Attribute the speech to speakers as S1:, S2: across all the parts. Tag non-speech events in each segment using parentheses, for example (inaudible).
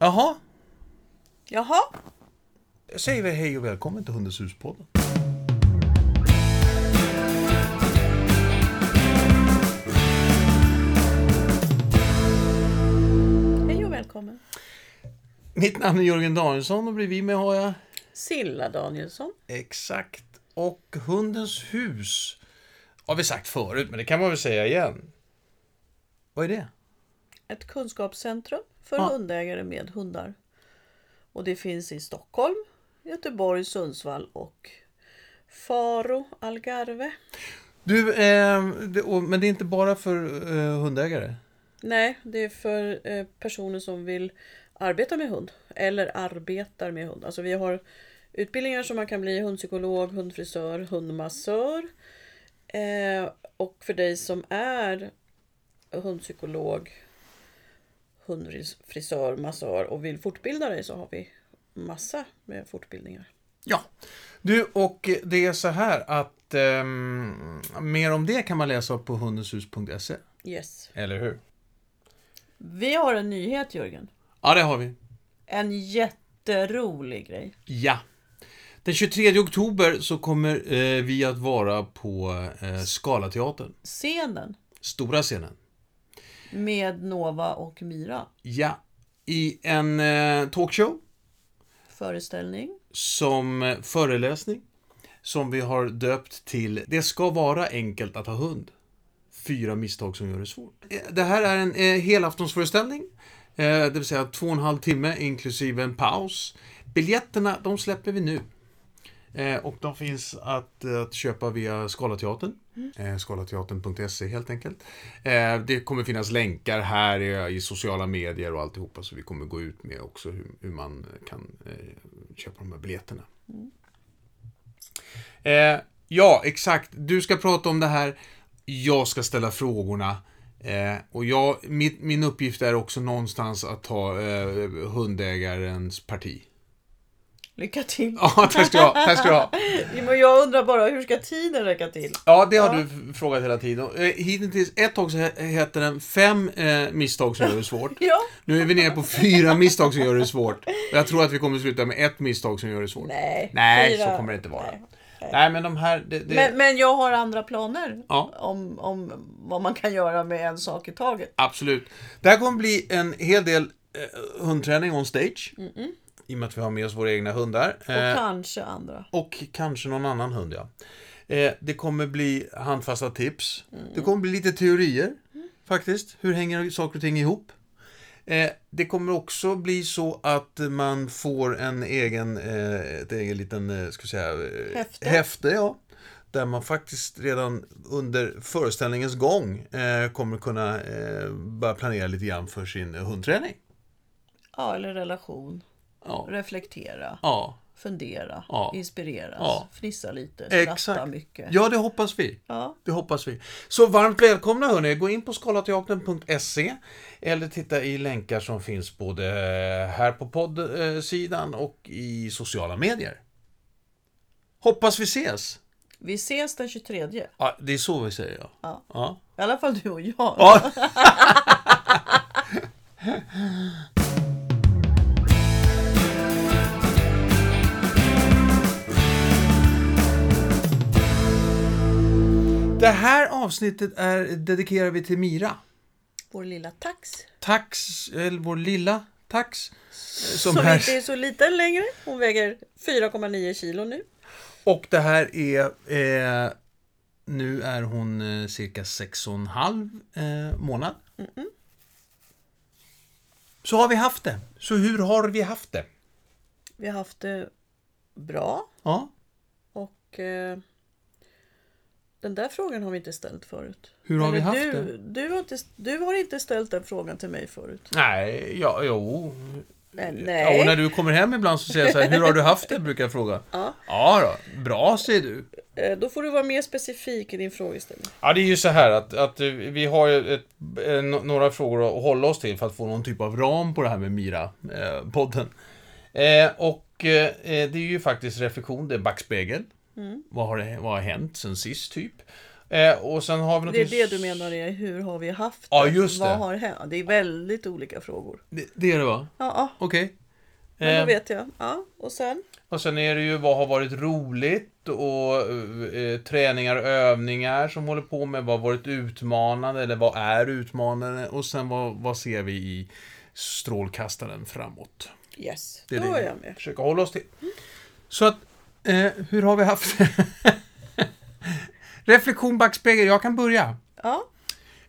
S1: Jaha,
S2: Jaha?
S1: då säger vi hej och välkommen till Hundens hus-podden.
S2: Hej och välkommen.
S1: Mitt namn är Jörgen Danielsson och bredvid mig har jag
S2: Silla Danielsson.
S1: Exakt. Och Hundens hus har vi sagt förut, men det kan man väl säga igen. Vad är det?
S2: Ett kunskapscentrum för
S1: Ja.
S2: hundägare med hundar. Och det finns i Stockholm, Göteborg, Sundsvall och Faro, Algarve.
S1: Du, eh, det, och, men det är inte bara för eh, hundägare?
S2: Nej, det är för eh, personer som vill arbeta med hund eller arbetar med hund. Alltså vi har utbildningar som man kan bli hundpsykolog, hundfrisör, hundmassör. Eh, och för dig som är hundpsykolog, hundfrisör, massör och vill fortbilda dig så har vi massa med fortbildningar.
S1: Ja. Du, och det är så här att ehm, mer om det kan man läsa på hundenshus.se.
S2: Yes.
S1: Eller hur?
S2: Vi har en nyhet Jörgen.
S1: Ja, det har vi.
S2: En jätterolig grej.
S1: Ja. Den 23 oktober så kommer eh, vi att vara på eh, Scalateatern,
S2: Scenen
S1: stora scenen.
S2: med Nova och Mira.
S1: Ja, i en eh, talkshow
S2: föreställning.
S1: som eh, föreläsning som vi har döpt till Det ska vara enkelt att ha hund. Fyra misstag som gör det svårt. Eh, Det här är en eh, helaftonsföreställning, eh, det vill säga två och en halv timme inklusive en paus. Biljetterna, de släpper vi nu. Eh, Och de finns att, eh, att köpa via Skalateatern. Eh, Skalateatern.se helt enkelt. Eh, Det kommer finnas länkar här i, i sociala medier och alltihopa så vi kommer gå ut med också hur, hur man kan eh, köpa de här biljetterna. Eh, ja, exakt. Du ska prata om det här. Jag ska ställa frågorna. Eh, och jag, mitt, min uppgift är också någonstans att ta eh, hundägarens parti. (laughs)
S2: Lycka till!
S1: Ja, tack ska du ha. Tack ska du ha.
S2: Jo, (laughs) Men jag undrar bara, hur ska tiden räcka till?
S1: Ja, det har
S2: Ja.
S1: du f- frågat hela tiden. Och, eh, Hittills, ett tag så he- hette den Fem eh, misstag som gör det svårt.
S2: Ja.
S1: Nu är vi nere på fyra misstag som gör det svårt. Och Jag tror att vi kommer sluta med ett misstag som gör det svårt.
S2: Nej,
S1: Nej,
S2: fyra.
S1: så kommer det inte vara.
S2: Nej.
S1: Nej, men de här... Det, det...
S2: Men, men jag har andra planer
S1: Ja.
S2: om, om vad man kan göra med en sak i taget.
S1: Absolut. Det här kommer bli en hel del eh, hundträning on stage. I och med att vi har med oss våra egna hundar.
S2: Och
S1: Eh,
S2: kanske andra.
S1: och kanske någon annan hund, ja. Eh, det kommer bli handfasta tips. Det kommer bli lite teorier, faktiskt. Hur hänger saker och ting ihop? Eh, det kommer också bli så att man får en egen, eh, ett egen liten, eh, ska vi säga, eh,
S2: Häfte.
S1: häfte ja. Där man faktiskt redan under föreställningens gång eh, kommer kunna eh, börja planera lite grann för sin hundträning.
S2: Ja, eller relation.
S1: Ja.
S2: Reflektera,
S1: Ja.
S2: fundera,
S1: Ja.
S2: inspireras,
S1: Ja.
S2: fnissa lite, skratta
S1: Exakt.
S2: mycket.
S1: Ja, det hoppas vi.
S2: Ja.
S1: Det hoppas vi. Så varmt välkomna hörni. Gå in på skalateatern.se eller titta i länkar som finns både här på poddsidan och i sociala medier. Hoppas vi ses!
S2: Vi ses den 23.
S1: Ja, det är så vi säger ja.
S2: Ja.
S1: ja.
S2: I alla fall du och jag.
S1: ja. Det här avsnittet är, dedikerar vi till Mira.
S2: Vår lilla tax.
S1: Tax, eller vår lilla tax. eh, Som
S2: Som,
S1: här.
S2: inte är så liten längre. Hon väger 4,9 kilo nu.
S1: Och det här är... Eh, nu är hon eh, cirka sex och en halv eh, månad. Så har vi haft det. Så hur har vi haft det?
S2: Vi har haft det bra.
S1: Ja.
S2: Och eh, den där frågan har vi inte ställt förut.
S1: Hur har
S2: Eller
S1: vi haft
S2: du,
S1: det?
S2: Du har, inte, du har inte ställt den frågan till mig förut.
S1: Nej, ja, jo.
S2: Men,
S1: Ja,
S2: nej.
S1: och när du kommer hem ibland så säger jag så här, hur har du haft det? Brukar jag fråga.
S2: Ja.
S1: Ja då, bra säger du.
S2: Eh, Då får du vara mer specifik i din frågeställning.
S1: Ja, det är ju så här att, att eh, vi har ju ett, eh, no- några frågor att hålla oss till för att få någon typ av ram på det här med Mira-podden. Eh, och eh, eh,
S2: Mm.
S1: det är ju faktiskt reflektion, det är backspegel. Vad, har det, vad har hänt sen sist, typ? Eh, och sen har vi något
S2: Det är det du menar är hur har vi haft
S1: Ja, just det.
S2: Vad har hänt? Det är väldigt olika frågor.
S1: Det, det är det va?
S2: Ja, ja
S1: Okej.
S2: men
S1: Eh,
S2: då vet jag. Ja, och sen?
S1: och sen är det ju vad har varit roligt och eh, träningar och övningar som håller på med. Vad har varit utmanande eller vad är utmanande? Och sen vad, vad ser vi i strålkastaren framåt?
S2: Yes,
S1: Det är
S2: då
S1: det
S2: är
S1: vi
S2: jag med.
S1: försöker hålla oss till. Så att, eh, hur har vi haft det? (laughs) Reflektion backspegel, jag kan börja.
S2: Ja, (laughs)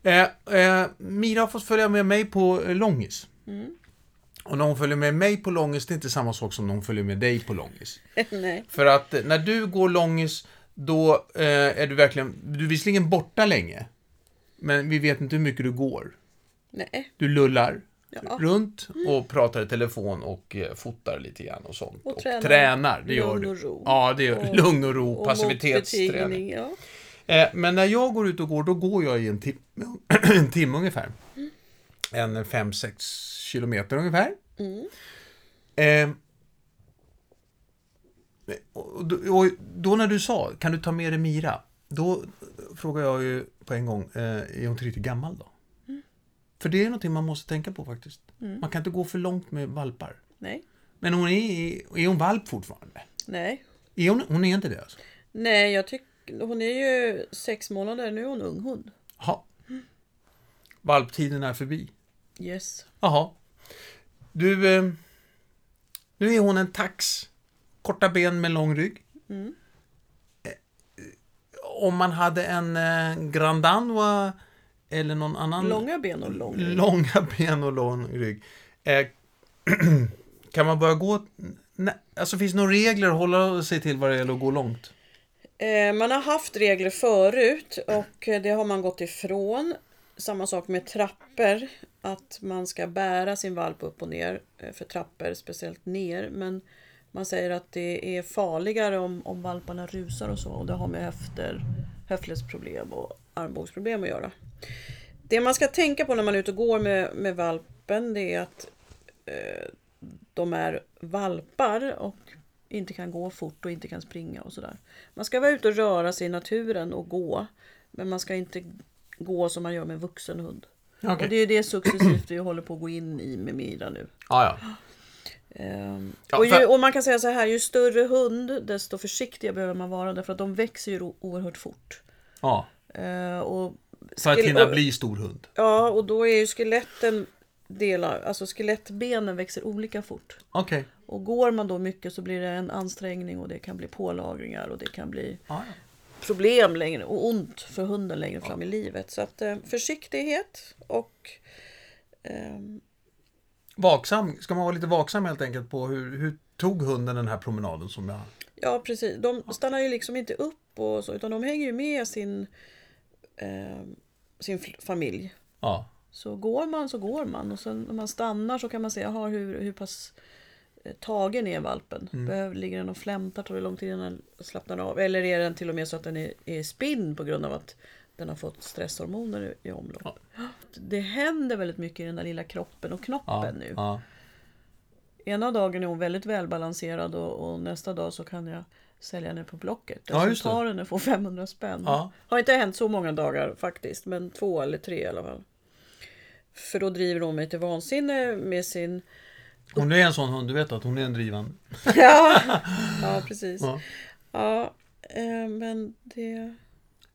S1: Eh, eh, Mira har fått följa med mig på eh, långis.
S2: Mm.
S1: Och när hon följer med mig på långis, det är inte samma sak som när hon följer med dig på långis.
S2: nej.
S1: För att eh, när du går långis, då eh, är du verkligen, du är visserligen borta länge. Men vi vet inte hur mycket du går.
S2: Nej.
S1: Du lullar
S2: Ja. Mm.
S1: runt och pratar i telefon och eh, fotar lite grann och sånt.
S2: Och tränar.
S1: det gör
S2: Lugn
S1: du.
S2: och ro.
S1: Ja, det gör
S2: Och-
S1: du. Lugn och ro,
S2: Och
S1: passivitetsträning.
S2: motbetigning, Ja.
S1: Eh, men när jag går ut och går, då går jag i en timme, (clears throat) en timme ungefär. En 5-6 kilometer ungefär.
S2: Mm.
S1: Eh, och, då- och då när du sa, kan du ta med dig Mira? Då frågar jag ju på en gång, eh, är hon tillräckligt gammal då? För det är någonting man måste tänka på faktiskt. Man kan inte gå för långt med valpar.
S2: Nej.
S1: Men hon är, är hon valp fortfarande?
S2: Nej.
S1: Är hon, hon är inte det alltså?
S2: Nej, jag tycker... Hon är ju sex månader, nu är hon ung hund.
S1: Jaha. Valptiden är förbi.
S2: Yes.
S1: Jaha. Du, eh, nu är hon en tax. Korta ben med lång rygg.
S2: Mm.
S1: Eh, Om man hade en eh, Grand Danois eller någon annan
S2: Långa ben och lång rygg.
S1: långa (laughs) ben och lång rygg. Eh, (clears throat) kan man börja gå... Nej, alltså finns det några regler att hålla sig till vad det gäller att gå långt?
S2: Eh, Man har haft regler förut och eh, det har man gått ifrån. Samma sak med trappor. Att man ska bära sin valp upp och ner eh, för trappor, speciellt ner. Men man säger att det är farligare om, om valparna rusar och så. Och det har med höfter, höftledsproblem och armbågsproblem att göra. Det man ska tänka på när man är ute och går med, med valpen det är att eh, de är valpar och inte kan gå fort och inte kan springa och sådär. Man ska vara ute och röra sig i naturen och gå. Men man ska inte gå som man gör med en vuxen hund.
S1: Okej.
S2: Och det är det successivt vi håller på att gå in i med Mira nu.
S1: Ah, ja.
S2: Ehm,
S1: Ja,
S2: och, ju,
S1: för-
S2: och man kan säga så här, ju större hund desto försiktigare behöver man vara därför att de växer ju o- oerhört fort.
S1: ja.
S2: Ehm, och
S1: För att
S2: skele-
S1: hinna
S2: och-
S1: bli stor hund.
S2: Ja, och då är ju skeletten delar, alltså skelettbenen växer olika fort.
S1: Okej.
S2: Och går man då mycket så blir det en ansträngning och det kan bli pålagringar och det kan bli
S1: Ah, ja.
S2: problem längre och ont för hunden längre fram i livet. Så att eh, försiktighet och ehm,
S1: Vaksam, ska man vara lite vaksam helt enkelt på hur, hur tog hunden den här promenaden som jag...
S2: ja, precis. De stannar ju liksom inte upp och så utan de hänger ju med sin, ehm, sin fl- familj.
S1: Ja.
S2: Så går man så går man och sen när man stannar så kan man se aha, hur, hur pass eh, tagen är valpen. Behöver, ligger den och flämtar? Tar det lång tid innan den slappnar av? Eller är den till och med så att den är, är i spinn på grund av att den har fått stresshormoner i, i omlopp? Det händer väldigt mycket i den där lilla kroppen och knoppen
S1: Ja.
S2: nu.
S1: ja.
S2: Ena dagen är hon väldigt välbalanserad och, och nästa dag så kan jag sälja henne på Blocket.
S1: Ja,
S2: Den
S1: just
S2: som
S1: det.
S2: tar henne får 500 spänn.
S1: Ja.
S2: Har inte hänt så många dagar faktiskt, men två eller tre i alla fall. För då driver hon mig till vansinne
S1: (laughs)
S2: med sin...
S1: Hon är en sån hund, du vet att hon är en drivande.
S2: Ja, ja precis.
S1: Ja.
S2: Ja, eh, men det...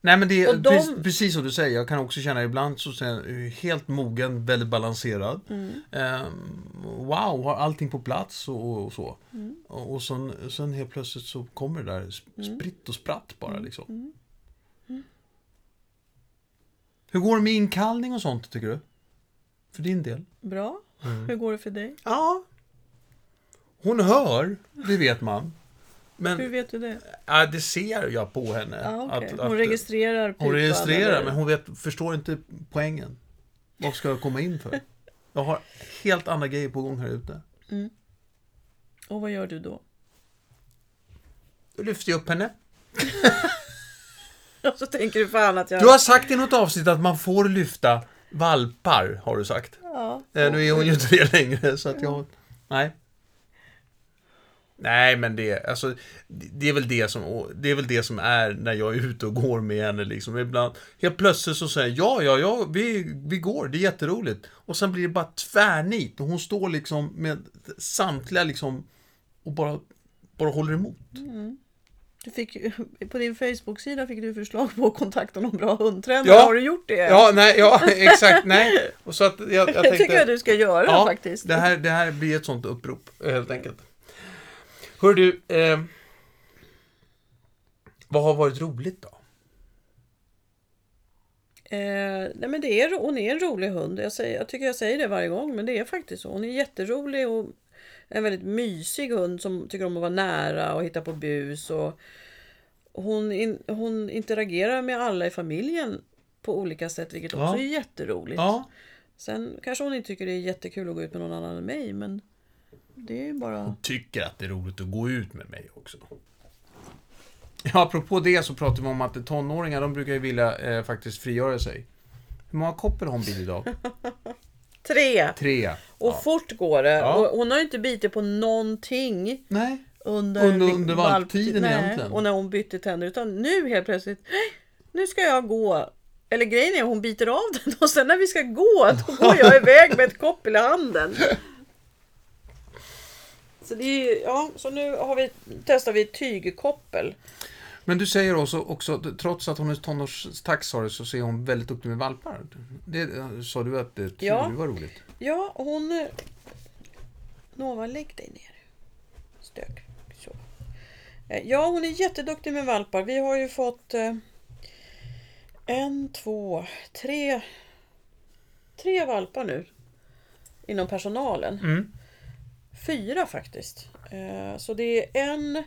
S1: Nej men det är
S2: Och de-
S1: precis, precis som du säger, jag kan också känna ibland så säger jag, helt mogen, väldigt balanserad.
S2: Mm.
S1: Ehm, wow, har allting på plats och, och så.
S2: Mm.
S1: Och, och sen, sen helt plötsligt så kommer det där sp- spritt och spratt bara
S2: Mm.
S1: liksom. Hur går det med inkallning och sånt tycker du? För din del?
S2: Bra.
S1: Mm.
S2: Hur går det för dig?
S1: Ja. Hon hör, det vet man. Men
S2: Hur vet du det?
S1: ja, det ser jag på henne.
S2: Ja, okej.
S1: att-
S2: hon
S1: att-
S2: registrerar pipan.
S1: hon registrerar
S2: eller-
S1: men hon vet, förstår inte poängen. Vad ska jag komma in för? Jag har helt andra grejer på gång här ute.
S2: Och vad gör du då? (laughs)
S1: Då lyfter jag upp henne.
S2: Och så tänker du fan att jag...
S1: Du har sagt i något avsnitt att man får lyfta valpar, har du sagt.
S2: Ja.
S1: Eh, Nu är hon ju inte det längre, så att jag... Nej. Nej, men det, alltså, det det är, väl det, som, det är väl det som är när jag är ute och går med henne. Liksom. Ibland, helt plötsligt så säger jag ja, ja, ja, vi, vi går, det är jätteroligt. Och sen blir det bara tvärnit och hon står liksom med samtliga liksom och bara, bara håller emot.
S2: Du fick, ju- på din Facebook-sida fick du förslag på att kontakta någon bra hundtränare.
S1: Ja.
S2: Har du gjort det?
S1: Ja, nej, ja, (laughs) exakt, nej. Och så att jag, jag
S2: det
S1: tänkte,
S2: tycker jag du ska göra faktiskt.
S1: Det här, det här blir ett sånt upprop, eh, helt enkelt. Hör du, eh, vad har varit roligt då?
S2: Eh, nej men det är, ro- hon är en rolig hund. Jag, säger, jag tycker jag säger det varje gång, men det är faktiskt så. Hon är jätterolig och en väldigt mysig hund som tycker om att vara nära och hitta på bus. Och hon, in, hon interagerar med alla i familjen på olika sätt, vilket
S1: Ja.
S2: också är jätteroligt.
S1: Ja,
S2: Sen kanske hon inte tycker det är jättekul att gå ut med någon annan än mig, men det är ju bara...
S1: tycker att det är roligt att gå ut med mig också. Ja, apropå det så pratar vi om att tonåringar, de brukar ju vilja eh, faktiskt frigöra sig. Hur många koppel har hon bil idag?
S2: Tre!
S1: Tre.
S2: Och
S1: Ja.
S2: fort går det.
S1: Ja.
S2: Och hon har ju inte bitit på någonting.
S1: Nej.
S2: under,
S1: Under-
S2: liksom
S1: under valptiden
S2: nej,
S1: egentligen.
S2: Och när hon bytte tänder. Utan nu helt plötsligt, "Nej, nu ska jag gå. Eller grejen är hon biter av den (laughs) och sen när vi ska gå, då går jag iväg med ett koppel
S1: (laughs)
S2: i handen. Så, det är, ju- ja, så nu har vi, testar vi tygkoppel.
S1: Men du säger också, också att trots att hon är tonårstaxare så ser hon väldigt duktig med valpar. Det eh, sa du att det tyckte
S2: Ja.
S1: du var roligt.
S2: Ja, hon... eh, Nova, lägg dig ner. Stök. Så. Eh, Ja, hon är jätteduktig med valpar. Vi har ju fått eh, en, två, tre, tre valpar nu inom personalen.
S1: Mm.
S2: Fyra faktiskt. Eh, Så det är en,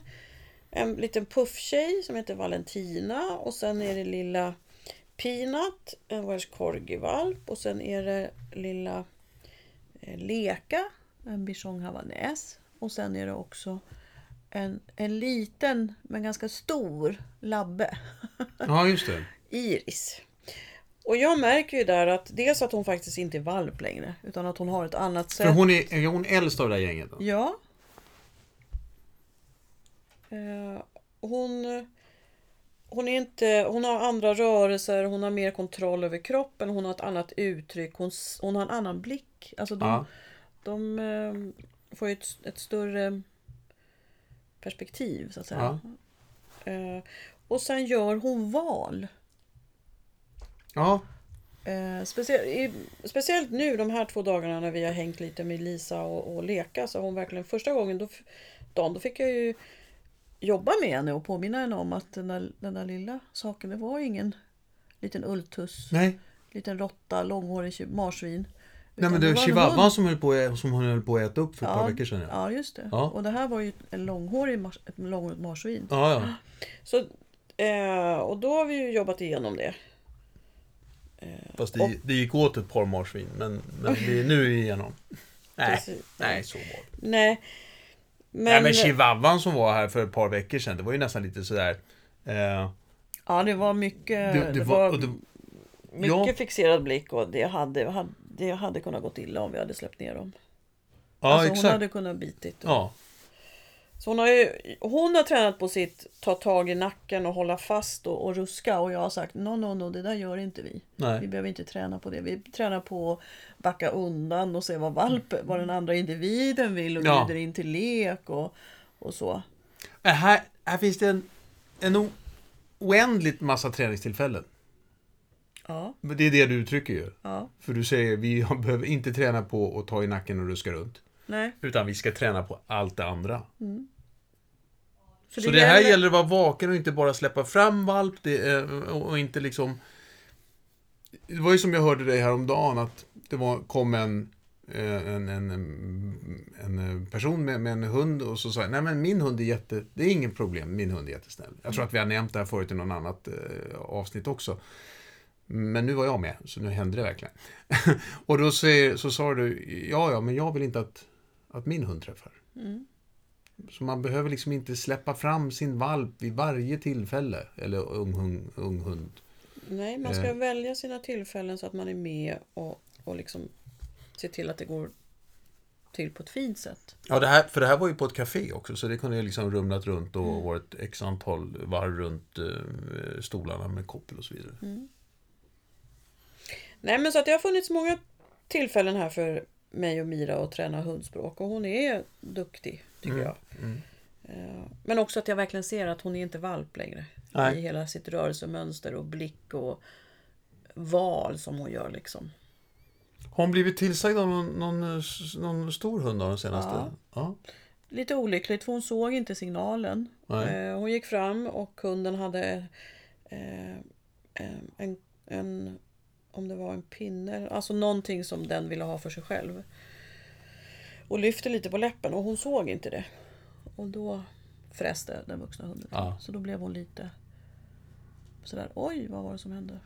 S2: en liten pufftjej som heter Valentina och sen är det lilla Peanut, en vars korgivalp och sen är det lilla eh, Leka, en bichon havanäs och sen är det också en, en liten men ganska stor labbe, (laughs)
S1: Ja, just det.
S2: Iris. Och jag märker ju där att dels att hon faktiskt inte är valp längre utan att hon har ett annat
S1: För
S2: sätt
S1: hon är, är hon äldst av det här gänget? Då?
S2: Ja. Eh, hon, hon, är inte, hon har andra rörelser, hon har mer kontroll över kroppen, hon har ett annat uttryck, hon, s- hon har en annan blick. Alltså de,
S1: Ja.
S2: de eh, får ju ett, ett större perspektiv så att säga. Eh, och sen gör hon val.
S1: Ja.
S2: Eh, specie- i, speciellt nu de här två dagarna när vi har hängt lite med Lisa och, och leka så har hon verkligen första gången då, f- dagen då fick jag ju jobba med henne och påminna henne om att den där, den där lilla saken det var ju ingen liten ulltuss,
S1: Nej.
S2: liten råtta, långhårig tju- marsvin.
S1: Nej
S2: Utan
S1: men det var
S2: en
S1: chihuahuan
S2: hund.
S1: som, höll på- som hon höll på att äta upp för ett par
S2: ja,
S1: veckor sedan. Ja,
S2: Ja just det.
S1: Ja.
S2: Och det här var ju en långhårig mars, ett långhårigt marsvin.
S1: ja. ja.
S2: Så, eh, och då har vi ju jobbat igenom det.
S1: Fast det, det gick åt ett par marsvin, men, men vi, nu är vi igenom. Nej,
S2: (laughs) Precis.
S1: nej så var det.
S2: Nej.
S1: Nej men chihuahuan som var här för ett par veckor sedan, det var ju nästan lite sådär... Eh,
S2: Ja, det var mycket,
S1: det,
S2: det,
S1: det
S2: var,
S1: var, och det,
S2: mycket
S1: ja.
S2: fixerad blick och det hade, hade, det hade kunnat gått illa om vi hade släppt ner dem.
S1: ja
S2: alltså,
S1: exakt.
S2: Hon hade kunnat bitit.
S1: Ja,
S2: Så hon har, ju, hon har tränat på sitt ta tag i nacken och hålla fast och, och ruska och jag har sagt no, no, no, det där gör inte vi. Vi
S1: nej.
S2: behöver inte träna på det. Vi tränar på att backa undan och se vad valpen, vad den andra individen vill och
S1: Mm. Ja.
S2: bjuder in till lek och, och så.
S1: Äh, Här, här finns det en, en o- oändligt massa träningstillfällen.
S2: Ja,
S1: Men Det är det du uttrycker ju.
S2: ja,
S1: För du säger, vi behöver inte träna på att ta i nacken och ruska runt.
S2: nej.
S1: Utan vi ska träna på allt det andra.
S2: För
S1: så det här gäller att vara vaken och inte bara släppa fram valp det, eh, och och inte liksom... Det var ju som jag hörde dig häromdagen att det var, kom en, eh, en, en, en, en person med, med en hund och så sa jag, nej men min hund är jätte... Det är ingen problem, min hund är jättesnäll. Jag tror att vi har nämnt det här förut i någon annat eh, avsnitt också. Men nu var jag med, så nu hände det verkligen. (laughs) och då säger, så sa du, ja ja, men jag vill inte att, att min hund träffar. Så man behöver liksom inte släppa fram sin valp vid varje tillfälle. Eller ung, hund- ung hund.
S2: Nej, man
S1: Eh.
S2: ska välja sina tillfällen så att man är med och, och liksom se till att det går till på ett fint sätt.
S1: Ja, det här, för det här var ju på ett café också, så det kunde ju liksom rumlat runt och varit x antal varv runt eh, stolarna med koppel och så vidare.
S2: Nej men så att det har funnits många tillfällen här för mig och Mira att träna hundspråk och hon är duktig tycker jag. Eh, Men också att jag verkligen ser att hon är inte valp längre.
S1: Nej.
S2: I hela sitt rörelsemönster och blick och val som hon gör liksom.
S1: Har hon blivit tillsagd av någon, någon, eh, s- någon stor hund av den senaste? Ja.
S2: Lite olyckligt för hon såg inte signalen.
S1: Nej.
S2: Eh, Hon gick fram och kunden hade eh, eh, en, en, om det var en pinne, alltså någonting som den ville ha för sig själv. Och lyfte lite på läppen och hon såg inte det. Och då fräste den vuxna hunden till.
S1: Ja.
S2: Så då blev hon lite sådär, oj vad var det som hände?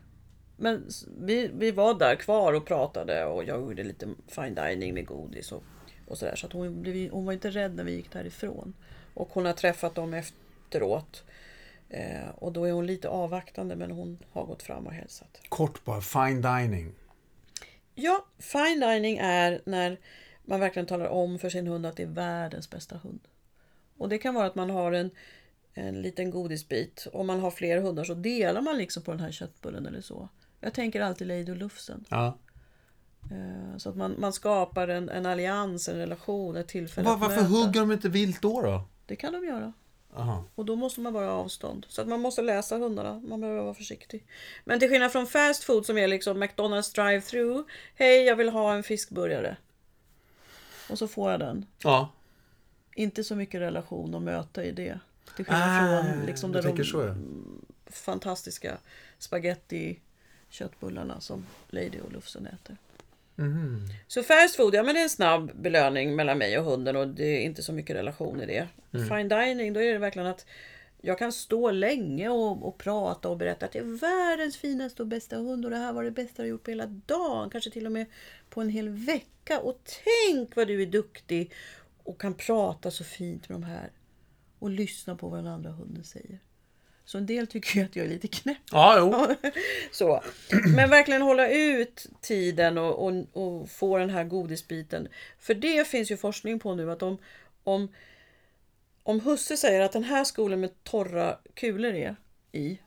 S2: Men s- vi, vi var där kvar och pratade och jag gjorde lite fine dining med godis och, och sådär. Så att hon, blev, hon var inte rädd när vi gick därifrån. Och hon har träffat dem efteråt. Eh, och då är hon lite avvaktande men hon har gått fram och hälsat.
S1: Kort bara, fine dining.
S2: Ja, fine dining är när man verkligen talar om för sin hund att det är världens bästa hund. Och det kan vara att man har en, en liten godisbit. Om man har fler hundar så delar man liksom på den här köttbullen eller så. Jag tänker alltid Lady och Lufsen.
S1: Ja.
S2: Eh, Så att man, man skapar en, en allians, en relation, ett tillfälle
S1: Var,
S2: att
S1: varför
S2: mötas.
S1: hugger de inte vilt då? då?
S2: Det kan de göra.
S1: Aha.
S2: Och då måste man vara avstånd. Så att man måste läsa hundarna. Man behöver vara försiktig. Men till skillnad från fast food som är liksom McDonalds drive-through. Hej, jag vill ha en fiskburgare. Och så får jag den.
S1: Ja.
S2: Inte så mycket relation och möte i det. Till skillnad från liksom
S1: du
S2: där
S1: Ah, tänker
S2: de
S1: så ja.
S2: fantastiska spaghetti köttbullarna som Lady och Lufsen äter.
S1: Mhm.
S2: Så fast food, ja men det är en snabb belöning mellan mig och hunden och det är inte så mycket relation i det. Fine dining, då är det verkligen att jag kan stå länge och, och prata och berätta att det är världens finaste och bästa hund och det här var det bästa jag gjort på hela dagen. Kanske till och med på en hel vecka. Och tänk vad du är duktig och kan prata så fint med de här. Och lyssna på vad den andra hunden säger. Så en del tycker ju att jag är lite knäpp.
S1: Ja, jo.
S2: Så. Men verkligen hålla ut tiden och, och, och få den här godisbiten. För det finns ju forskning på nu att om, om, om husse säger att den här skolan med torra kulor är i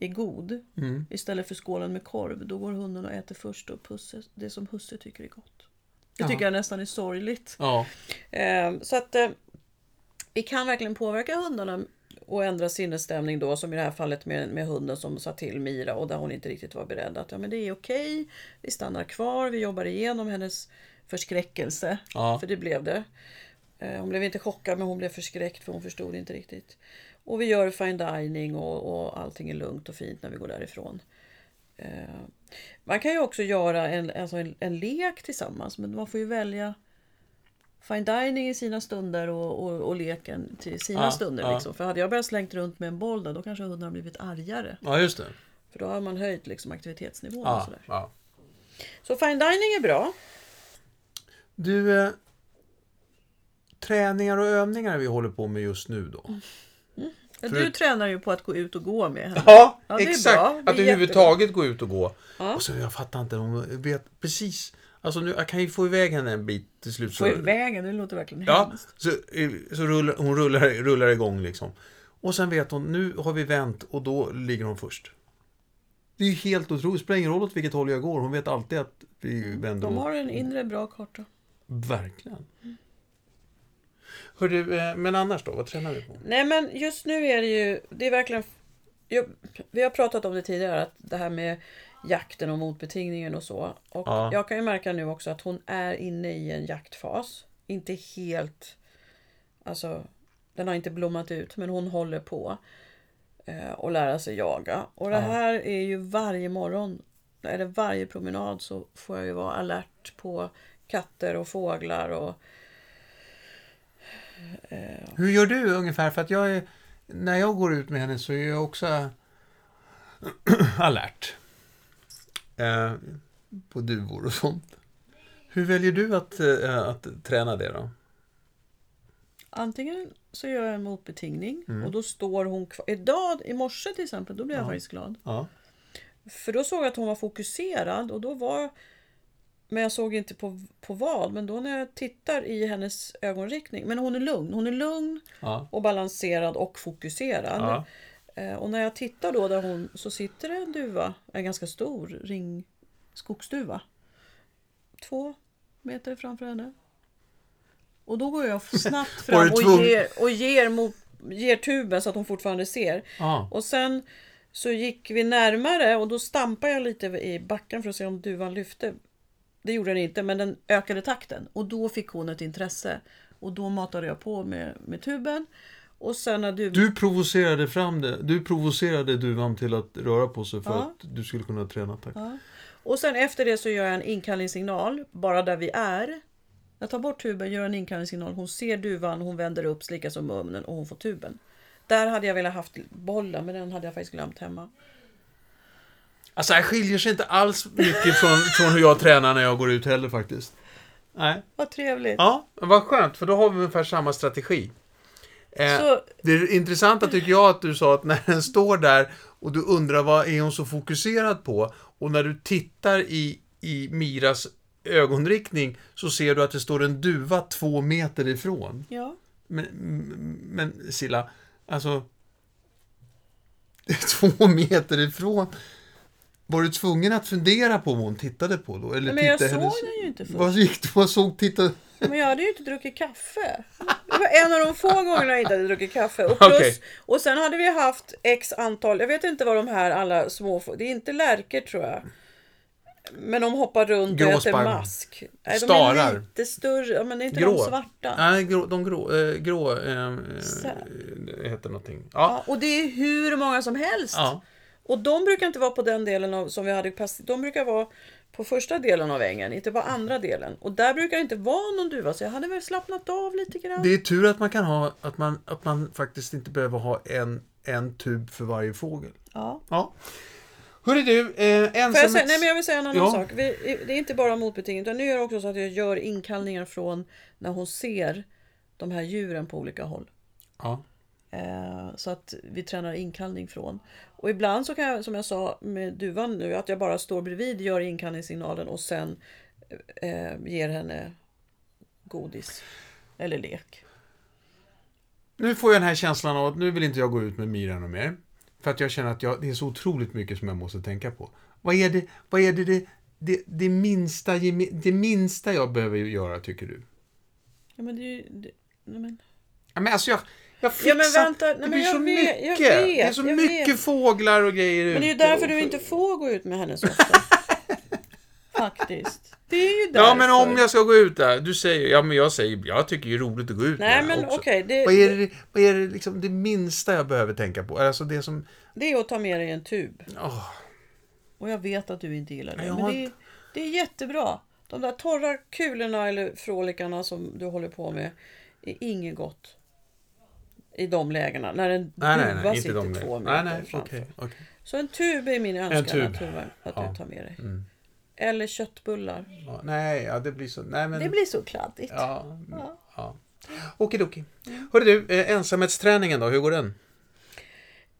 S2: är god istället för skålen med korv. Då går hunden och äter först upp husse, det som husse tycker är gott. Det tycker jag nästan är sorgligt.
S1: Ja.
S2: Ehm, Så att eh, vi kan verkligen påverka hundarna och ändra sinnesstämning då som i det här fallet med, med hunden som sa till Mira och där hon inte riktigt var beredd att ja, men det är okej, vi stannar kvar, vi jobbar igenom hennes förskräckelse.
S1: Ja.
S2: För det blev det. Eh, Hon blev inte chockad men hon blev förskräckt för hon förstod inte riktigt. Och vi gör fine dining och, och allting är lugnt och fint när vi går därifrån. Eh, Man kan ju också göra en, alltså en, en lek tillsammans men man får ju välja fine dining i sina stunder och, och, och leken till sina
S1: Ja,
S2: stunder.
S1: ja.
S2: Liksom. För hade jag börjat slängt runt med en boll där, då kanske hunden har blivit argare.
S1: ja, just det.
S2: För då har man höjt liksom, aktivitetsnivån. Och
S1: Ja.
S2: sådär.
S1: Ja.
S2: Så fine dining är bra.
S1: Du, eh, träningar och övningar vi håller på med just nu då?
S2: Men
S1: Förut-
S2: Du tränar ju på att gå ut och gå med henne.
S1: Ja,
S2: Ja, det är
S1: exakt.
S2: bra. Det är
S1: Att överhuvudtaget gå ut och gå.
S2: Ja.
S1: Och så, jag fattar inte, hon vet precis. Alltså nu, jag kan ju få iväg henne en bit till slut. Så,
S2: Gå i vägen, det låter verkligen
S1: ja,
S2: hemskt.
S1: så, eh, så rullar, hon rullar, rullar igång liksom. Och sen vet hon, nu har vi vänt och då ligger hon först. Det är ju helt otroligt, det spelar ingen roll åt vilket håll jag går. Hon vet alltid att vi vänder
S2: De
S1: åt-
S2: har en inre bra karta.
S1: Verkligen. Hör du, eh, men annars då, vad tränar vi på?
S2: Nej men just nu är det ju, det är verkligen, jag, vi har pratat om det tidigare, att det här med jakten och motbetingningen och så. Och
S1: Ja.
S2: jag kan ju märka nu också att hon är inne i en jaktfas. Inte helt, alltså den har inte blommat ut men hon håller på eh, och lära sig jaga. Och det
S1: Ja.
S2: här är ju varje morgon, eller varje promenad så får jag ju vara alert på katter och fåglar och
S1: Hur gör du ungefär? För att jag är, när jag går ut med henne så är jag också (clears throat) alert. Eh, på duvor och sånt. Hur väljer du att, eh, att träna det då?
S2: Antingen så gör jag en motbetingning och då står hon kvar. Idag i morse till exempel, då blev jag
S1: Mm. Ja.
S2: faktiskt glad.
S1: Ja.
S2: För då såg jag att hon var fokuserad och då var Men jag såg inte på, på vad. Men då när jag tittar i hennes ögonriktning. Men hon är lugn. Hon är lugn
S1: Ja.
S2: och balanserad och fokuserad.
S1: Ja.
S2: Eh, Och när jag tittar då där hon så sitter det en duva, en ganska stor ring, skogsduva. Två meter framför henne. Och då går jag
S1: (laughs)
S2: snabbt
S1: Var
S2: fram
S1: du
S2: och
S1: tvungen?
S2: ger, och ger, mot, ger tuben så att hon fortfarande ser.
S1: Ja.
S2: Och sen så gick vi närmare och då stampade jag lite i backen för att se om duvan lyfte. Det gjorde den inte, men den ökade takten och då fick hon ett intresse. Och då matade jag på med, med tuben. Och sen när duvan...
S1: Du provocerade fram det. Du provocerade duvan till att röra på sig för
S2: Ja.
S1: att du skulle kunna träna attack.
S2: Ja. Och sen efter det så gör jag en inkallningssignal, bara där vi är. Jag tar bort tuben, gör en inkallningssignal. Hon ser duvan, hon vänder upp, slickar som munnen och hon får tuben. Där hade jag velat haft bollen, men den hade jag faktiskt glömt hemma.
S1: Alltså, det här skiljer sig inte alls mycket från, från hur jag tränar när jag går ut heller faktiskt. Nej.
S2: Vad trevligt!
S1: Ja, men vad skönt, för då har vi ungefär samma strategi. Eh,
S2: Så,
S1: Det är intressanta tycker jag att du sa att när den står där och du undrar vad är hon så fokuserad på och när du tittar i, i Miras ögonriktning så ser du att det står en duva två meter ifrån.
S2: ja.
S1: Men, men Silla, alltså... Två meter ifrån. Var du tvungen att fundera på vad hon tittade på då? Eller
S2: Men jag
S1: titta
S2: såg
S1: hennes-
S2: den ju inte först.
S1: Vad gick du och såg? Titta...
S2: Men jag hade ju inte druckit kaffe. Det var en av de få gångerna jag inte hade druckit kaffe. Och, plus,
S1: Okej.
S2: och sen hade vi haft x antal, jag vet inte vad de här alla små, det är inte lärkor tror jag. Men de hoppar runt och äter
S1: Gråsparv.
S2: mask. Nej, De
S1: Starar.
S2: är lite större, ja, men är inte
S1: Grå.
S2: de svarta?
S1: Nej, grå, de grå... Eh, grå eh, eh, heter någonting. Ja.
S2: Ja, och det är hur många som helst.
S1: ja.
S2: Och de brukar inte vara på den delen av, som vi hade pass, de brukar vara på första delen av ängen, inte på andra delen. Och där brukar det inte vara någon duva, så jag hade väl slappnat av lite grann.
S1: Det är tur att man kan ha... Att man, att man faktiskt inte behöver ha en, en tub för varje fågel.
S2: Ja.
S1: Ja. Hörru du, eh,
S2: Får jag
S1: ensam...
S2: säga, nej men jag vill säga en annan
S1: Ja.
S2: sak. Vi, det är inte bara motbeting utan nu gör jag också så att jag gör inkallningar från när hon ser de här djuren på olika håll.
S1: Ja.
S2: Eh, så att vi tränar inkallning från. Och ibland så kan jag, som jag sa med duvan nu, att jag bara står bredvid, gör inkallningssignalen och sen eh, ger henne godis. Eller lek.
S1: Nu får jag den här känslan av att nu vill inte jag gå ut med Mira och mer. För att jag känner att jag, det är så otroligt mycket som jag måste tänka på. Vad är det, vad är det, det, det, det, minsta, geme- det minsta jag behöver göra, tycker du?
S2: Ja, men det, är ju- det, nej, men.
S1: Ja, men alltså jag, jag fixar...
S2: Ja, men vänta, nej,
S1: det
S2: men
S1: blir
S2: jag
S1: så
S2: vet-
S1: mycket.
S2: jag
S1: det är
S2: vet,
S1: så
S2: jag
S1: mycket fåglar och grejer
S2: men det är ju
S1: ute och-
S2: därför du inte får gå ut med henne så
S1: (laughs)
S2: ofta. Faktiskt. Det är ju därför.
S1: Ja, men om jag ska gå ut där. Du säger... Ja, men jag säger... Jag tycker det är roligt att gå ut med
S2: Nej
S1: det
S2: men
S1: Eh, också.
S2: okej,
S1: Vad
S2: det,
S1: är, det, vad är det, liksom, det minsta jag behöver tänka på? Alltså det som...
S2: det är att ta med dig en tub.
S1: åh.
S2: Och jag vet att du inte gillar det.
S1: Jag
S2: Men
S1: har
S2: det, är,
S1: inte-
S2: det är jättebra. De där torra kulorna eller frålikarna som du håller på med är inget gott. I de lägena. När en
S1: Nej, nej,
S2: duva
S1: nej, inte
S2: sitter
S1: de
S2: två
S1: där.
S2: meter
S1: Nej, nej,
S2: framför.
S1: okej. okej.
S2: Så en tub är min önskan
S1: tub.
S2: att, du, att
S1: Ja.
S2: du tar med dig.
S1: Mm.
S2: Eller köttbullar.
S1: Ja, nej, ja, det blir så... Nej, men...
S2: Det blir så kladdigt.
S1: Ja.
S2: Ja.
S1: ja. Okidoki. Hörru du, eh, ensamhetsträningen då, hur går den?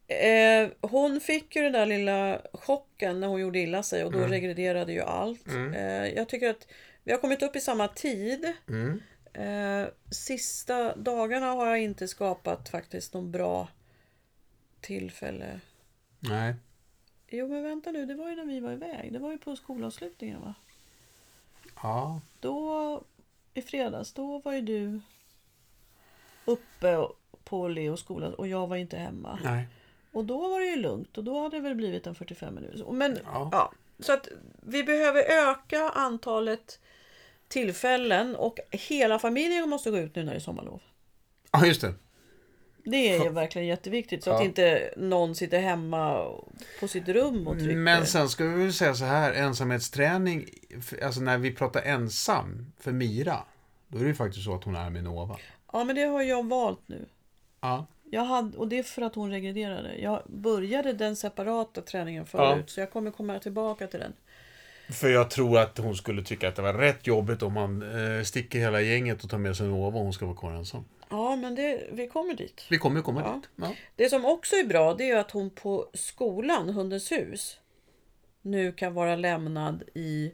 S2: Eh, hon fick ju den där lilla chocken när hon gjorde illa sig och då regrederade ju allt. Eh, jag tycker att vi har kommit upp i samma tid.
S1: Mm.
S2: Eh, sista dagarna har jag inte skapat faktiskt någon bra tillfälle.
S1: Nej.
S2: Jo men vänta nu, det var ju när vi var iväg. Det var ju på skolavslutningen va?
S1: Ja.
S2: Då i fredags, då var ju du uppe på Leos skola och jag var inte hemma.
S1: Nej.
S2: Och då var det ju lugnt och då hade det väl blivit en 45 minuter. Men,
S1: Ja.
S2: ja. så att vi behöver öka antalet tillfällen och hela familjen måste gå ut nu när det är sommarlov.
S1: Ja, just det.
S2: Det är ju verkligen jätteviktigt så
S1: Ja.
S2: att inte någon sitter hemma och- på sitt rum och trycker.
S1: Men sen ska vi väl säga så här, ensamhetsträning, för- alltså när vi pratar ensam för Mira, då är det ju faktiskt så att hon är med Nova.
S2: Ja men det har jag valt nu.
S1: Ja.
S2: Jag hade, och det är för att hon regrederade. Jag började den separata träningen förut så jag kommer komma tillbaka till den.
S1: För jag tror att hon skulle tycka att det var rätt jobbigt om man eh, sticker hela gänget och tar med sig Nova och hon ska vara kvar ensam.
S2: Ja men det, vi kommer dit.
S1: Vi kommer ju komma
S2: Ja.
S1: dit. Ja.
S2: Det som också är bra det är ju att hon på skolan, Hundens hus, nu kan vara lämnad i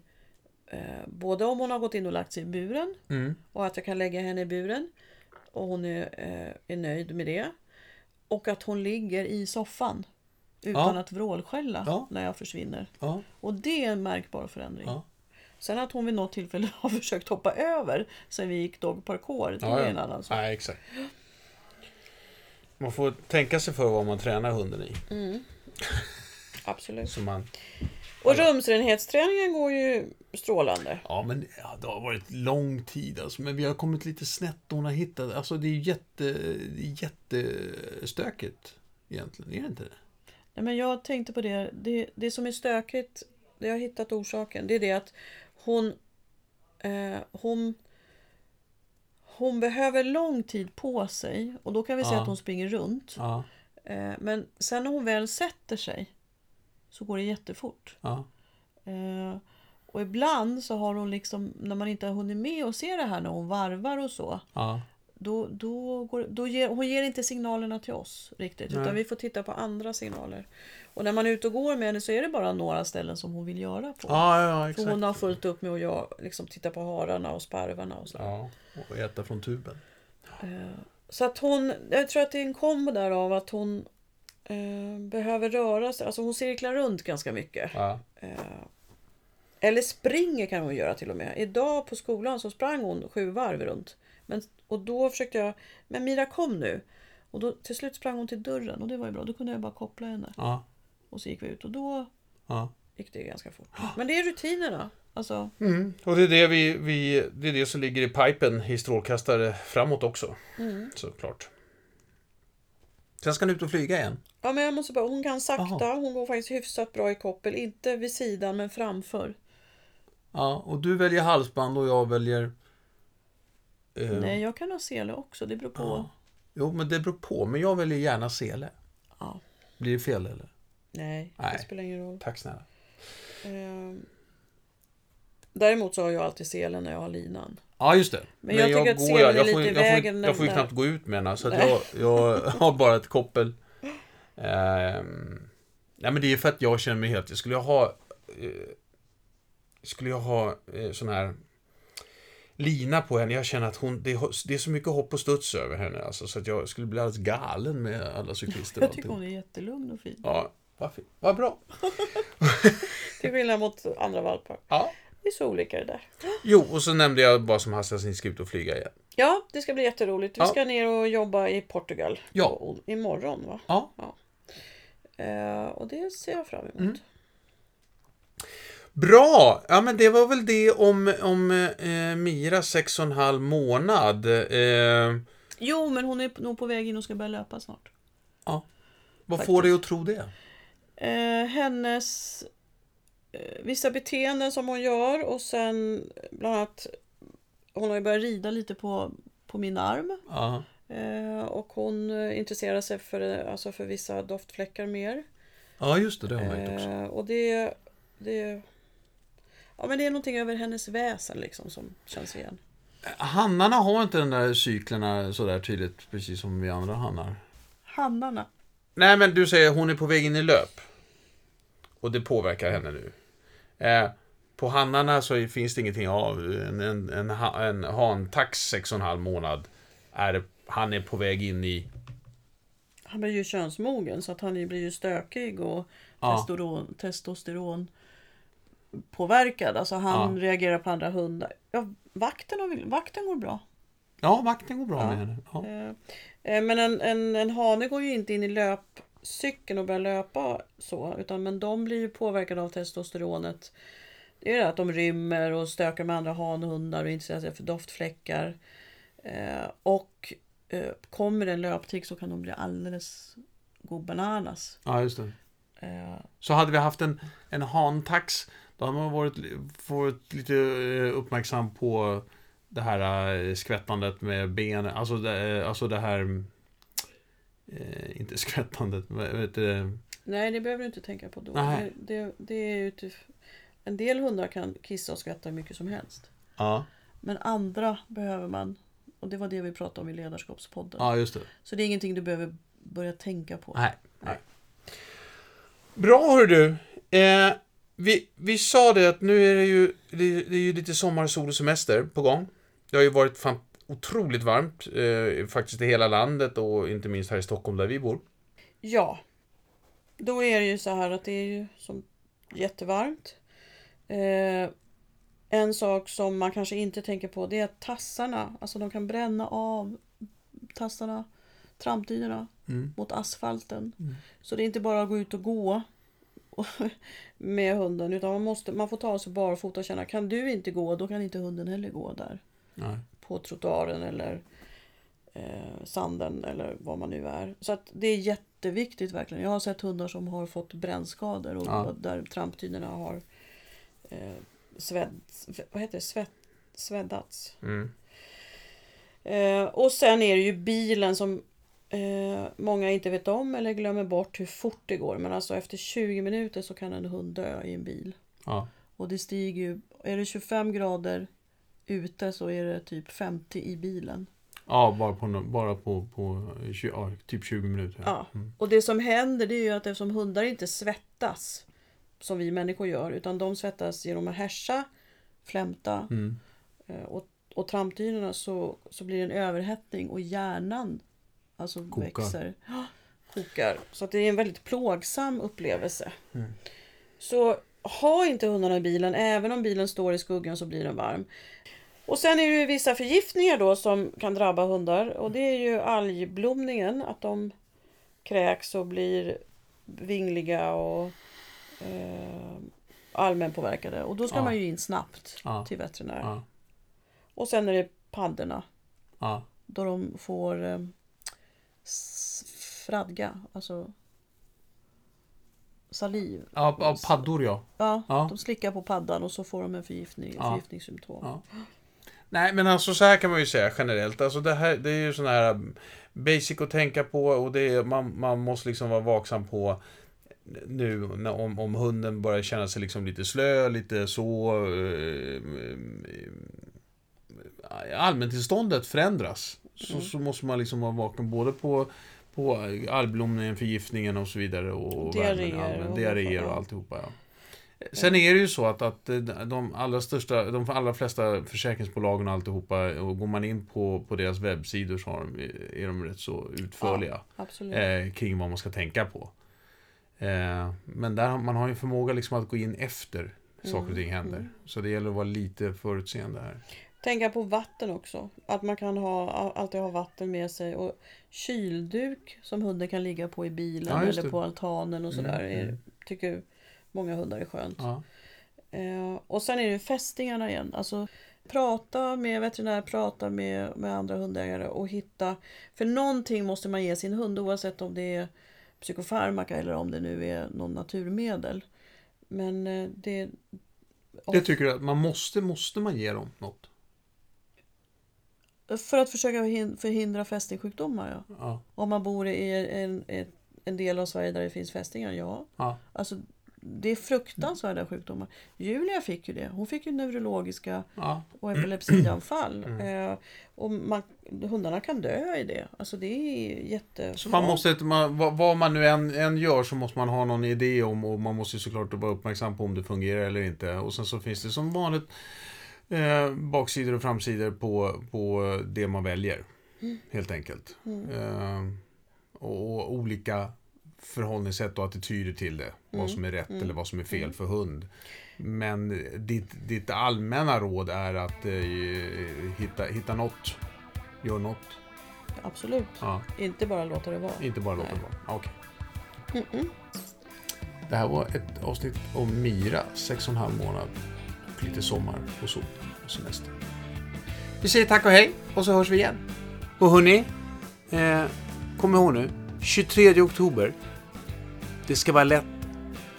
S2: eh, Eh, både om hon har gått in och lagt sig i buren
S1: Mm.
S2: och att jag kan lägga henne i buren och hon är, eh, är nöjd med det. Och att hon ligger i soffan utan
S1: Ja.
S2: att vrålskälla
S1: Ja.
S2: när jag försvinner.
S1: Ja.
S2: Och det är en märkbar förändring.
S1: Ja.
S2: Sen att hon vid något tillfälle (laughs) har försökt hoppa över sen vi gick dog parkour, det
S1: Ja,
S2: är
S1: ja.
S2: en annan sak.
S1: Nej, exakt. Man får tänka sig för vad man tränar hunden i.
S2: Mm. Absolut.
S1: Så man,
S2: Och rumsrenhetsträningen går ju strålande.
S1: ja, men ja, det har varit lång tid alltså, men vi har kommit lite snett hon har hittat. Alltså det är ju jätte, jättestökigt egentligen, är det inte det?
S2: Nej, men jag tänkte på det. det. Det som är stökigt, det jag har hittat orsaken, det är det att hon, eh, hon, hon behöver lång tid på sig och då kan vi säga
S1: Ja.
S2: att hon springer runt.
S1: Ja,
S2: Eh, men sen när hon väl sätter sig så går det jättefort.
S1: ja,
S2: Eh, och ibland så har hon liksom, när man inte har hunnit med och se det här när hon varvar och så,
S1: ja.
S2: då, då, går, då ger, hon ger inte signalerna till oss riktigt
S1: Nej.
S2: utan vi får titta på andra signaler. Och när man är ute och går med henne så är det bara några ställen som hon vill göra på.
S1: Ja, ja,
S2: För
S1: exakt.
S2: hon har fullt upp med att jag liksom titta på hararna och sparvarna och så.
S1: Ja, och äta från tuben.
S2: Så att hon, jag tror att det är en kombo där av att hon eh, behöver röra sig, alltså hon cirklar runt ganska mycket.
S1: Ja,
S2: Eller springer kan hon göra till och med. Idag på skolan så sprang hon sju varv runt. Men, och då försökte jag, men Mira kom nu. Och då, till slut sprang hon till dörren och det var ju bra. Då kunde jag bara koppla henne.
S1: ja,
S2: Och så gick vi ut och då
S1: ja.
S2: gick det ganska fort. Men det är rutinerna. Alltså,
S1: Mm. Och det är det, vi, vi, det är det som ligger i pipen i strålkastare framåt också.
S2: Mm.
S1: Såklart. Sen ska ni ut och flyga igen.
S2: ja men jag måste bara, hon kan sakta.
S1: Jaha.
S2: Hon går faktiskt hyfsat bra i koppel. Inte vid sidan men framför.
S1: Ja, och du väljer halsband och jag väljer... eh,
S2: Nej, jag kan ha sele också. Det beror på.
S1: Ja. Jo, men det beror på. Men jag väljer gärna sele.
S2: Ja.
S1: Blir det fel eller?
S2: Nej,
S1: Nej.
S2: det spelar ingen roll.
S1: Tack snälla.
S2: Ehm, Däremot så har jag alltid selen när jag har linan.
S1: Ja, just det.
S2: Men jag tycker att selen
S1: jag,
S2: är
S1: jag,
S2: lite
S1: får,
S2: i
S1: ju- jag, får,
S2: vägen
S1: ju-
S2: när
S1: jag får ju
S2: den
S1: knappt gå ut med den. här, Så att jag,
S2: Nej.
S1: jag (laughs) har bara ett koppel. Ehm, nej, men det är för att jag känner mig helt... Skulle jag ha... Eh, skulle jag ha eh, sån här lina på henne. Jag känner att hon, det, är, det är så mycket hopp och studs över henne. Alltså, så att jag skulle bli alldeles galen med alla cyklister. och
S2: Jag tycker
S1: allting.
S2: hon är jättelugn och fin.
S1: Ja, vad fint. Vad bra.
S2: Till skillnad mot andra valpar.
S1: Ja.
S2: Det är så olika det där.
S1: Jo, och så nämnde jag bara som hastigast att ni ska ut och flyga igen.
S2: Ja, det ska bli jätteroligt. Vi
S1: Ja.
S2: ska ner och jobba i Portugal
S1: Ja.
S2: på, imorgon. Va?
S1: Ja.
S2: Eh, och det ser jag fram emot.
S1: Bra! Ja, men det var väl det om, om eh, Mira sex och en halv månad. Eh,
S2: Jo, men hon är nog på väg in och ska börja löpa snart.
S1: vad
S2: Faktiskt.
S1: får dig att tro det?
S2: Eh, hennes eh, vissa beteenden som hon gör och sen bland annat hon har ju börjat rida lite på, på min arm
S1: Ja.
S2: eh, och hon eh, intresserar sig för, eh, alltså för vissa doftfläckar mer.
S1: Ja, just det. Det har man märkt också.
S2: Eh, och det, det, ja, men det är någonting över hennes väsen liksom som känns igen.
S1: Hannarna har inte den där cyklerna sådär tydligt, precis som vi andra hannar.
S2: Hannarna.
S1: Nej, men du säger hon är på väg in i löp. Och det påverkar henne nu. Eh, på hannarna så finns det ingenting av en, en, en, ha- en hantax sex och en halv månad. Är, han är på väg in i...
S2: Han blir ju könsmogen så att han blir ju stökig och
S1: Ja.
S2: testosteron, testosteron påverkad. Alltså han reagerar på andra hundar. Ja, vakten, har, väl- vakten går bra.
S1: Ja, vakten går bra med henne. Ja.
S2: Eh, eh, Men en, en, en hane går ju inte in i löpcykeln och börjar löpa så. Utan, men de blir ju påverkade av testosteronet. Det är det att de rymmer och stökar med andra hanhundar och intresserar sig för doftfläckar. Eh, och eh, kommer en löptik så kan de bli alldeles go bananas.
S1: ja, just det.
S2: Eh,
S1: Så hade vi haft en, en hantax, då hade man varit, varit lite eh, uppmärksam på det här eh, skvättandet med benen, alltså det, eh, alltså det här... Eh, inte skvättandet, men vet du,
S2: nej, det behöver du inte tänka på då.
S1: Nej.
S2: Det, det, det är ju typ, en del hundar kan kissa och skvätta hur mycket som helst.
S1: Ja,
S2: Men andra behöver man, och det var det vi pratade om i ledarskapspodden.
S1: ja just det.
S2: Så det är ingenting du behöver börja tänka på.
S1: Nej. nej. Bra hör du. Eh, Vi, vi sa det att nu är det ju, det, det är ju lite sommar, sol och semester på gång. Det har ju varit fan, otroligt varmt eh, faktiskt i hela landet och inte minst här i Stockholm där vi bor.
S2: Ja. Då är det ju så här att det är ju som jättevarmt. Eh, en sak som man kanske inte tänker på det är att tassarna, alltså de kan bränna av tassarna, trampdynorna
S1: Mm,
S2: mot asfalten. Så det är inte bara att gå ut och gå (laughs) med hunden utan man, måste, man får ta sig barfota och känna kan du inte gå då kan inte hunden heller gå där
S1: Nej.
S2: på trottoaren eller eh, sanden eller vad man nu är. Så att det är jätteviktigt verkligen. Jag har sett hundar som har fått brännskador och
S1: Ja.
S2: och där trampdynorna har eh, svedd, vad heter det? Svett, sveddats.
S1: Mm.
S2: Eh, och sen är det ju bilen som eh, många inte vet om eller glömmer bort hur fort det går. Men alltså efter 20 minuter så kan en hund dö i en bil.
S1: Ja.
S2: Och det stiger ju. Är det 25 grader ute så är det typ 50 i bilen.
S1: ja, bara på, no- bara på, på eh, tju- ja, typ 20 minuter. Mm.
S2: Ja. Och det som händer det är ju att eftersom hundar inte svettas som vi människor gör utan de svettas genom att härsa, flämta
S1: Mm.
S2: eh, och, och trampdynorna så, så blir det en överhettning och hjärnan alltså
S1: Kokar.
S2: växer. Ja, Kokar. Så att det är en väldigt plågsam upplevelse.
S1: Mm.
S2: Så ha inte hundarna i bilen, även om bilen står i skuggan så blir den varm. Och sen är det ju vissa förgiftningar då som kan drabba hundar och det är ju algblomningen, att de kräks och blir vingliga och eh, allmänpåverkade. Och då ska
S1: Ja.
S2: man ju in snabbt
S1: Ja.
S2: till veterinär.
S1: Ja.
S2: Och sen är det paddorna
S1: Ja.
S2: då de får eh, s- fradga, alltså saliv.
S1: Ja, ja, paddor ja.
S2: Ja,
S1: Ja.
S2: De slickar på paddan och så får de en förgiftning,
S1: Ja.
S2: förgiftningssymptom.
S1: Ja. Nej, men alltså så här kan man ju säga generellt. Alltså det här, det är ju sån här um, basic att tänka på och det är, man, man måste liksom vara vaksam på nu när, om, om hunden börjar känna sig liksom lite slö, lite så... Eh, eh, allmäntillståndet förändras. Så,
S2: Mm.
S1: så måste man liksom vara vaken både på, på algblomningen, förgiftningen och så vidare. Och
S2: Diarréer
S1: värmen, allmän-
S2: och-
S1: diarréer och
S2: ja.
S1: alltihopa. Ja. Sen är det ju så att, att eh, de allra största, de allra flesta försäkringsbolagen och alltihopa, och går man in på, på deras webbsidor så har de, eh, är de rätt så utförliga
S2: Absolut.
S1: eh, kring vad man ska tänka på. Eh, men där, har- man har ju en förmåga liksom att gå in efter saker och ting händer. Så det gäller att vara lite förutseende här.
S2: Tänka på vatten också. Att man kan ha, alltid ha vatten med sig och kylduk som hunden kan ligga på i bilen
S1: Ja, just
S2: eller
S1: det.
S2: på altanen och sådär.
S1: Mm,
S2: Är,
S1: mm.
S2: tycker många hundar är skönt.
S1: Ja.
S2: Eh, och sen är det fästingarna igen. Alltså, prata med veterinär, prata med, med andra hundägare och hitta... För någonting måste man ge sin hund oavsett om det är psykofarmaka eller om det nu är någon naturmedel. Men eh, det...
S1: Det tycker jag att man måste, måste man ge dem något.
S2: För att försöka hin- förhindra fästingsjukdomar, ja.
S1: Ja.
S2: Om man bor i en, en, en del av Sverige där det finns fästingar, ja.
S1: Ja.
S2: Alltså, det är
S1: Mm.
S2: fruktansvärda sjukdomar. Julia fick ju det. Hon fick ju neurologiska
S1: Ja.
S2: och epilepsianfall.
S1: Mm.
S2: Eh, och man, hundarna kan dö i det. Alltså det är jätte...
S1: Så man måste, man, vad- vad man nu än, än gör så måste man ha någon idé om och man måste ju såklart vara uppmärksam på om det fungerar eller inte. Och sen så finns det som vanligt eh, baksidor och framsidor på, på det man väljer. Helt enkelt. Eh, och, och olika förhållningssätt och attityder till det. Vad som är rätt eller vad som är fel för hund. Men ditt, ditt allmänna råd är att eh, hitta, hitta något. Gör något.
S2: Absolut.
S1: Ja.
S2: Inte bara låta det vara.
S1: Inte bara låta
S2: Nej.
S1: det vara? Okej. Det här var ett avsnitt om Mira, sex och en halv månad. Och lite sommar och sol och semester. Vi säger tack och hej och så hörs vi igen. Och hörni, eh, kom ihåg nu. 23 oktober. Det ska vara lätt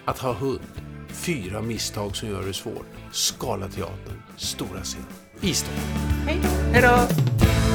S1: att ha hund. Fyra misstag som gör det svårt. Skala teatern, stora scen. I Stockholm.
S2: Hej då!
S1: Hej då!